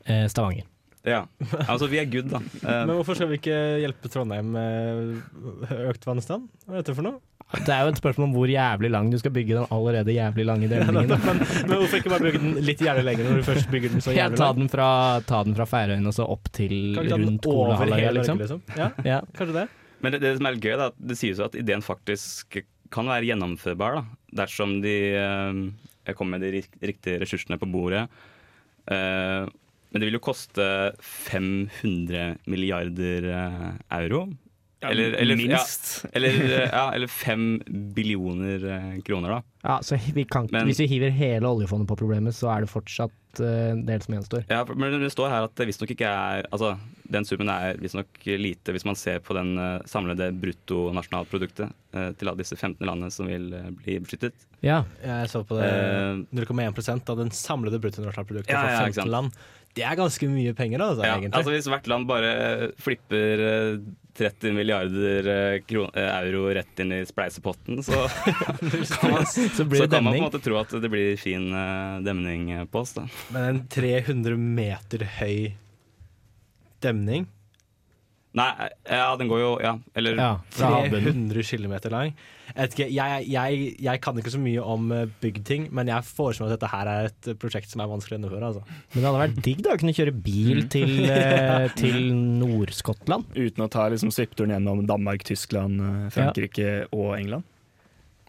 Speaker 9: eh, Stavanger.
Speaker 4: Ja, altså vi er good,
Speaker 9: *laughs*
Speaker 4: da. Eh,
Speaker 3: Men hvorfor skal vi ikke hjelpe Trondheim med økt vannstand? Hva er dette for noe?
Speaker 9: Det er jo et spørsmål om hvor jævlig lang du skal bygge den allerede jævlig lange demningen. da.
Speaker 3: Men, men hvorfor ikke bare bygge den litt jævlig lenger når du først bygger den så
Speaker 9: Ja,
Speaker 3: jævlig
Speaker 9: ta
Speaker 3: langt?
Speaker 9: den fra, ta den fra Færøyene og så opp til
Speaker 3: Kan vi ta den
Speaker 9: rundt
Speaker 3: over hele
Speaker 9: Kolahalvøya,
Speaker 3: Norge,
Speaker 9: liksom.
Speaker 3: liksom? Ja,
Speaker 9: Ja.
Speaker 3: kanskje det.
Speaker 4: Men det, det som er litt gøy, er at det sies jo at ideen faktisk kan være gjennomførbar da, dersom de eh, kommer med de rik- riktige ressursene på bordet. Eh, men det vil jo koste 500 milliarder eh, euro. Eller, eller,
Speaker 1: Minst.
Speaker 4: Ja, eller, eh, ja, eller 5 billioner eh, kroner, da.
Speaker 9: Ja, så vi kan, ikke-
Speaker 4: Men-
Speaker 9: Hvis vi hiver hele oljefondet på problemet, så er det fortsatt eh, en del som gjenstår.
Speaker 4: Ja, for- men det står her at det visstnok ikke er Altså, den summen er visstnok lite hvis man ser på den eh, samlede bruttonasjonalproduktet eh, til alle disse 15 landene som vil eh, bli beskyttet.
Speaker 9: Ja,
Speaker 3: Jeg så på det.
Speaker 4: Eh,
Speaker 3: 0,1 av den samlede bruttonasjonalproduktet
Speaker 4: Ja, ja,
Speaker 3: fra
Speaker 4: ikke sant.
Speaker 3: 15 land. Det er ganske mye penger, altså,
Speaker 4: Ja,
Speaker 3: egentlig.
Speaker 4: altså Hvis hvert land bare eh, flipper eh, 30 milliarder eh, kron- eh, euro rett inn i spleisepotten, *laughs* så kan man,
Speaker 9: så blir
Speaker 4: så
Speaker 9: det
Speaker 4: kan man på
Speaker 9: demning.
Speaker 4: en måte tro at det blir fin eh, demning eh, på oss. Da.
Speaker 3: Men en 300 meter høy demning,
Speaker 4: Nei, eh, ja, den går jo Ja, eller
Speaker 9: Ja, fra havbunnen.
Speaker 3: 300 km lang Jeg, vet ikke, jeg, jeg, jeg kan ikke så mye om eh, byggting, men jeg foreslår at dette her er et prosjekt som er vanskelig å gjennomføre. Altså.
Speaker 9: Men det hadde vært digg da å kunne kjøre
Speaker 2: Mm.
Speaker 9: bil til,
Speaker 2: *laughs*
Speaker 9: eh, til Nord-Skottland.
Speaker 1: Uten å ta liksom svippturen gjennom Danmark, Tyskland, eh, Frankrike og England.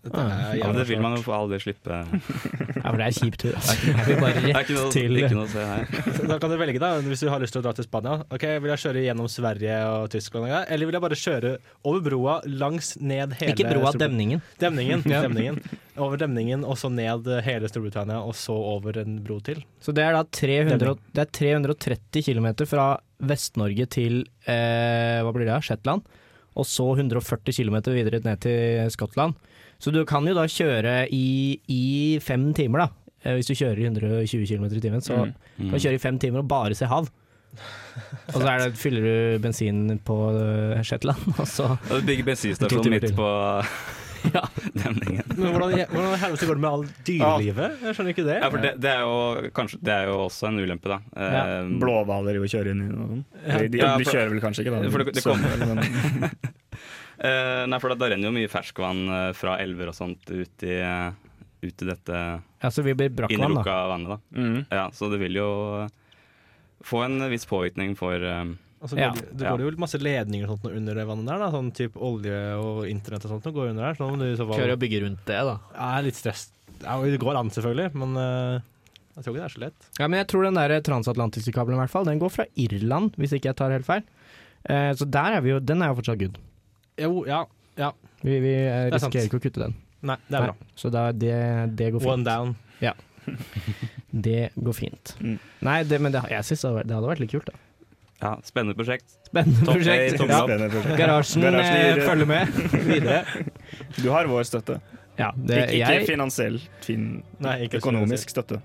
Speaker 4: Dette er ja, men det vil man jo for all del slippe.
Speaker 2: Ja, for *laughs* det er kjip tur, altså.
Speaker 4: Det er ikke-
Speaker 2: Vi bare
Speaker 4: *laughs* det er
Speaker 2: rett
Speaker 4: ikke noe-
Speaker 2: til
Speaker 4: Ikke noe å se her.
Speaker 3: Da kan du velge, da, hvis du har lyst til å dra til Spania. Ok, Vil jeg kjøre gjennom Sverige og Tyskland, en gang, eller vil jeg bare kjøre over broa, langs ned hele
Speaker 2: Ikke broa,
Speaker 3: Storbrit-
Speaker 2: demningen.
Speaker 3: Demningen,
Speaker 2: Ja.
Speaker 3: demningen. Over demningen, og så ned hele Storbritannia, og så over en bro til.
Speaker 2: Så det er da 300, og- det er 330 km fra Vest-Norge til eh, hva blir det, da? Shetland. Og så 140 km videre ned til Skottland. Så du kan jo da kjøre i, i fem timer, da. Eh, Hvis du kjører i 120 km i timen, så
Speaker 4: Mm. Mm.
Speaker 2: kan du kjøre i fem timer og bare se hav. Og så er det, fyller du bensin på eh, Shetland, *laughs* og så
Speaker 4: Og du bygger
Speaker 2: To
Speaker 4: bensinstasjon
Speaker 2: timer
Speaker 4: midt
Speaker 2: til.
Speaker 4: på *laughs* demningen.
Speaker 3: Men hvordan, hvordan i helvete går det med all dyrelivet? Jeg skjønner ikke det.
Speaker 4: Ja, for det, det er jo kanskje Det er jo også en ulempe, da.
Speaker 1: Ja.
Speaker 4: Eh,
Speaker 1: Blåhvaler jo kjører inn i noe sånt. De, de,
Speaker 4: Ja,
Speaker 1: de
Speaker 4: for-
Speaker 1: kjører vel kanskje ikke, da.
Speaker 4: For det, det
Speaker 1: Så-
Speaker 4: kommer-
Speaker 1: *laughs* men-
Speaker 4: Eh, nei, for da, da renner jo mye ferskvann eh, fra elver og sånt ut i, eh, ut i dette
Speaker 2: Ja, så vi blir brakkvann,
Speaker 4: innelukka
Speaker 2: da.
Speaker 4: vannet. da.
Speaker 1: Mhm.
Speaker 4: Ja, så det vil jo eh, få en viss påvirkning for eh,
Speaker 3: Og så går,
Speaker 4: ja.
Speaker 3: det, det går jo masse ledninger og sånt nå under det vannet der, da. sånn typ olje og internett og sånt nå går under der. Så nå må du i så fall
Speaker 2: Kjører og bygger rundt det, da.
Speaker 3: Jeg er litt stress. Ja, Det går an, selvfølgelig, men eh, jeg tror ikke det er så lett.
Speaker 2: Ja, men jeg tror den der eh, transatlantiske kabelen i hvert fall, den går fra Irland, hvis ikke jeg tar helt feil. Eh, så der er vi jo, den er jo fortsatt good.
Speaker 3: Jo, ja. ja.
Speaker 2: Vi, vi eh,
Speaker 3: Det er sant.
Speaker 2: risikerer ikke å kutte den.
Speaker 3: Nei, det er
Speaker 2: Nei,
Speaker 3: bra.
Speaker 2: Så da, det, det går fint.
Speaker 3: One down.
Speaker 2: Ja. Det går fint.
Speaker 1: Mm.
Speaker 2: Nei, det, men det, jeg syns det, hadde vært- det hadde vært litt kult, da.
Speaker 4: ja, Spennende prosjekt.
Speaker 2: Spennende
Speaker 4: Topp-
Speaker 2: prosjekt.
Speaker 4: eh, tommel opp.
Speaker 1: Spennende prosjekt.
Speaker 2: Garasjen,
Speaker 1: Garasjen
Speaker 2: eh,
Speaker 1: gir-
Speaker 2: følger
Speaker 3: *laughs*
Speaker 2: med videre.
Speaker 1: Du har vår støtte.
Speaker 2: Ja, det,
Speaker 1: ikke ikke
Speaker 2: jeg,
Speaker 1: finansiell, fin,
Speaker 3: Nei, ikke
Speaker 1: økonomisk støtte.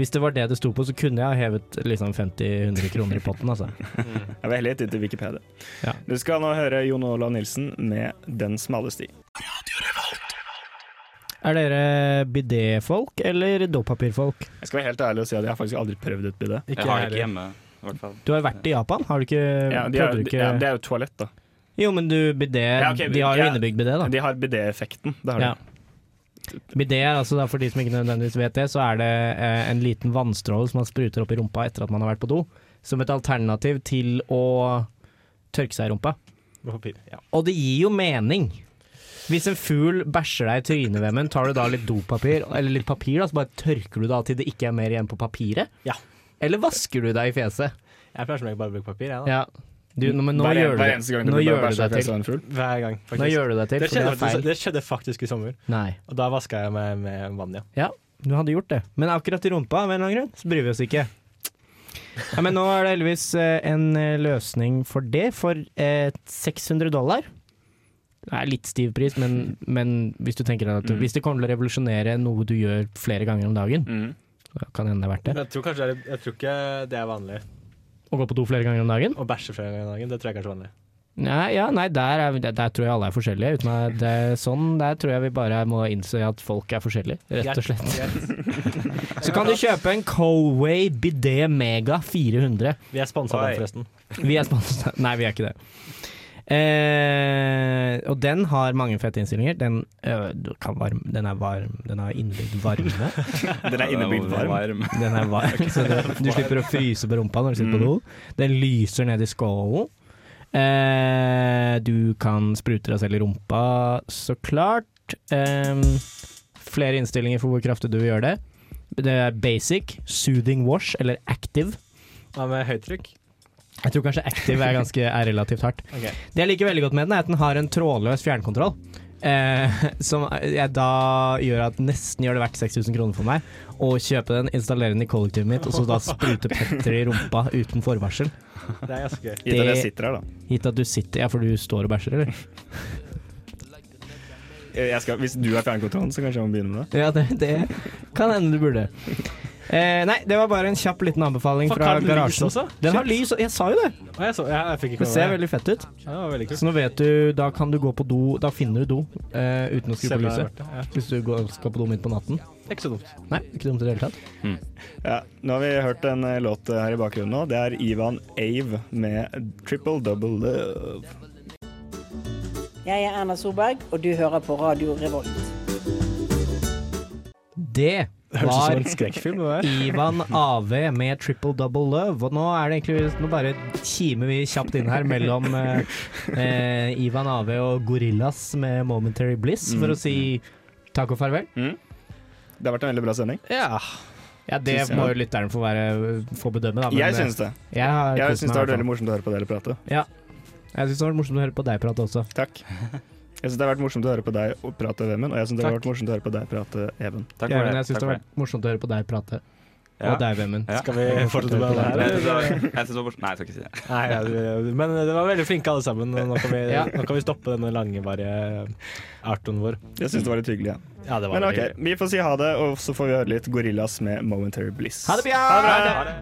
Speaker 2: hvis det var det det sto på, så kunne jeg ha hevet liksom 50-100 kroner i potten, altså.
Speaker 1: Jeg vil heller hit til Wikipedia.
Speaker 2: Ja.
Speaker 1: Du skal nå høre Jon Olav Nilsen med 'Den smale sti'.
Speaker 2: Er dere bidéfolk eller dopapirfolk?
Speaker 1: Jeg skal være helt ærlig og si at jeg har faktisk aldri prøvd et bidé.
Speaker 4: Jeg har det ikke hjemme, i hvert fall.
Speaker 2: Du har vært i Japan, har du ikke
Speaker 1: Ja, de
Speaker 2: prøvde
Speaker 1: er,
Speaker 2: du ikke
Speaker 1: ja, det er jo toalett, da.
Speaker 2: Jo, men du, bidé
Speaker 1: Ja, ok,
Speaker 2: De har jo
Speaker 1: ja.
Speaker 2: innebygd bidé, da.
Speaker 1: De har bidé-effekten. Det har de.
Speaker 2: Ah. Ja. Bidé er altså, da, for de som ikke nødvendigvis vet det, så er det eh, en liten vannstråle som man spruter opp i rumpa etter at man har vært på do, som et alternativ til å tørke seg i rumpa.
Speaker 3: Med papir. Ja.
Speaker 2: Og det gir jo mening. Hvis en fugl bæsjer deg i trynet, Vemund, tar du da litt dopapir, eller litt papir, da, så bare tørker du det av til det ikke er mer igjen på papiret?
Speaker 3: Ja.
Speaker 2: Eller vasker du deg i fjeset?
Speaker 3: Jeg pleier som regel bare å bruke papir, jeg, da.
Speaker 2: Ja. Du, nå, men nå
Speaker 1: hver, en-
Speaker 2: gjør du
Speaker 1: hver
Speaker 2: det.
Speaker 1: eneste gang du
Speaker 2: Nå
Speaker 1: blir sånn
Speaker 2: gjør
Speaker 1: bæsja
Speaker 2: du
Speaker 1: i
Speaker 2: deg
Speaker 1: fjeset
Speaker 2: til.
Speaker 1: av en fugl.
Speaker 3: Hver gang, faktisk.
Speaker 2: Nå gjør du deg til,
Speaker 3: det,
Speaker 2: for det
Speaker 3: skjedde,
Speaker 2: er feil.
Speaker 3: faktisk- det skjedde faktisk i sommer,
Speaker 2: Nei.
Speaker 3: og da vaska jeg meg med vann, ja.
Speaker 2: Ja, du hadde gjort det. Men akkurat i rumpa, av en eller annen grunn, så bryr vi oss ikke. Ja, men nå er det heldigvis eh, en eh, løsning for det, for eh, 600 dollar. Det er litt stiv pris, men, men hvis du tenker deg at du,
Speaker 1: Mm.
Speaker 2: hvis det kommer til å revolusjonere noe du gjør flere ganger om dagen,
Speaker 1: Mm.
Speaker 2: så kan det hende det er verdt det.
Speaker 3: Men Jeg tror kanskje det er, jeg tror ikke det er vanlig
Speaker 2: Å gå på do flere ganger om dagen?
Speaker 3: å bæsje flere ganger i dagen. Det tror jeg kanskje er vanlig.
Speaker 2: Nei, ja, nei der, er, vi- der, der tror jeg alle er forskjellige. Uten at det er sånn, der tror jeg vi bare må innse at folk er forskjellige, rett og slett. Så kan du kjøpe en Colway Bidé Mega 400.
Speaker 3: Vi er sponsa av
Speaker 4: Oi.
Speaker 3: den, forresten.
Speaker 2: Vi er sponset *laughs* Nei, vi er ikke det. Eh, og den har mange fete innstillinger. Den, øh, du kan varm, den er varm. Den har innebygd varme.
Speaker 1: Den er innebygd varm.
Speaker 2: Den er *laughs* varm, Mm. så det, du slipper å fryse på rumpa når du sitter på do. Den lyser ned i skålen. Eh, du kan sprute deg selv i rumpa, så klart. Eh, flere innstillinger for hvor kraftig du vil gjøre det. Det er basic, soothing wash eller active.
Speaker 3: Ja, med høytrykk.
Speaker 2: Jeg tror kanskje active er, ganske, er relativt hardt.
Speaker 3: Ok.
Speaker 2: Det jeg liker veldig godt med den, er at den har en trådløs fjernkontroll. Eh, *laughs* som jeg da gjør at nesten gjør det verdt 6000 kroner for meg å kjøpe den, installere den i kollektivet mitt, og så da sprute Petter i rumpa uten forvarsel.
Speaker 3: Det er ganske gøy.
Speaker 1: Gitt at jeg
Speaker 2: Det-
Speaker 1: sitter her, da.
Speaker 2: Gitt at du sitter Ja, for du står og bæsjer, eller?
Speaker 1: Jeg skal, hvis du er fjernkontrollen, så kanskje jeg må begynne med det.
Speaker 2: Ja, det, det kan hende du burde. Eh, nei, det var bare en kjapp liten anbefaling
Speaker 3: Fuck,
Speaker 2: fra
Speaker 3: har den lys
Speaker 2: garasjen.
Speaker 3: også?
Speaker 2: Den har lys, og jeg sa jo det!
Speaker 3: Og jeg, så, jeg, jeg fikk ikke
Speaker 2: Det
Speaker 3: med
Speaker 2: ser
Speaker 3: meg det.
Speaker 2: veldig fett ut.
Speaker 3: Ja, det var veldig kult.
Speaker 2: Så nå vet du, da kan du gå på do Da finner du do eh, uten å skru på
Speaker 3: Selv om jeg har
Speaker 2: lyset.
Speaker 3: vært det,
Speaker 2: Hvis du går, skal på do midt på natten.
Speaker 3: ja. Ikke så dumt.
Speaker 2: Nei, ikke dumt i det hele tatt.
Speaker 1: Ja, nå har vi hørt en eh, låt her i bakgrunnen nå. Det er Ivan Ave med 'Triple Double Love'.
Speaker 6: Jeg er Erna Solberg, og du hører på Radio Revolt.
Speaker 2: Det
Speaker 3: Høres ut
Speaker 2: var
Speaker 3: som en skrekkfilm. det der.
Speaker 2: Ivan AV med Triple Double Love. Og nå er det egentlig Nå bare kimer vi kjapt inn her mellom eh, eh, Ivan AV og Gorillas med Momentary Bliss, for å si Takk og farvel.
Speaker 1: Det har vært en veldig bra sending.
Speaker 2: Ja. det
Speaker 1: Synes jeg.
Speaker 2: må jo lytteren få, være, få bedømme, da. men- eh,
Speaker 1: jeg syns det.
Speaker 2: Jeg, har kost
Speaker 1: syns det har vært
Speaker 2: meg i hvert fall.
Speaker 1: veldig morsomt å høre på dere prate.
Speaker 2: Ja. Jeg syns det har vært morsomt å høre på deg prate også.
Speaker 1: Takk. Jeg syns det har vært morsomt å høre på deg og prate, Vemund, og jeg syns det har
Speaker 2: Takk.
Speaker 1: vært morsomt å høre på deg prate, Even.
Speaker 2: Takk for Jeg syns det har vært morsomt å høre på deg prate.
Speaker 4: Ja.
Speaker 2: Og deg, Vemund.
Speaker 4: Ja.
Speaker 3: Skal vi fortsette med det her,
Speaker 4: Jeg synes det var-
Speaker 3: eller?
Speaker 4: jeg synes det var bort- Nei, jeg skal ikke si det.
Speaker 3: Nei, ja, du- men dere var veldig flinke alle sammen. og Nå kan vi,
Speaker 4: Ja.
Speaker 3: nå kan vi stoppe denne langvarige artoen vår.
Speaker 1: Jeg syns det var litt hyggelig.
Speaker 3: Ja, Mm. det var
Speaker 1: Men
Speaker 3: veldig
Speaker 1: ok,
Speaker 3: hyggelig.
Speaker 1: vi får si ha det, og så får vi høre litt Gorillas med Momentary Bliss.
Speaker 3: Ha det bra!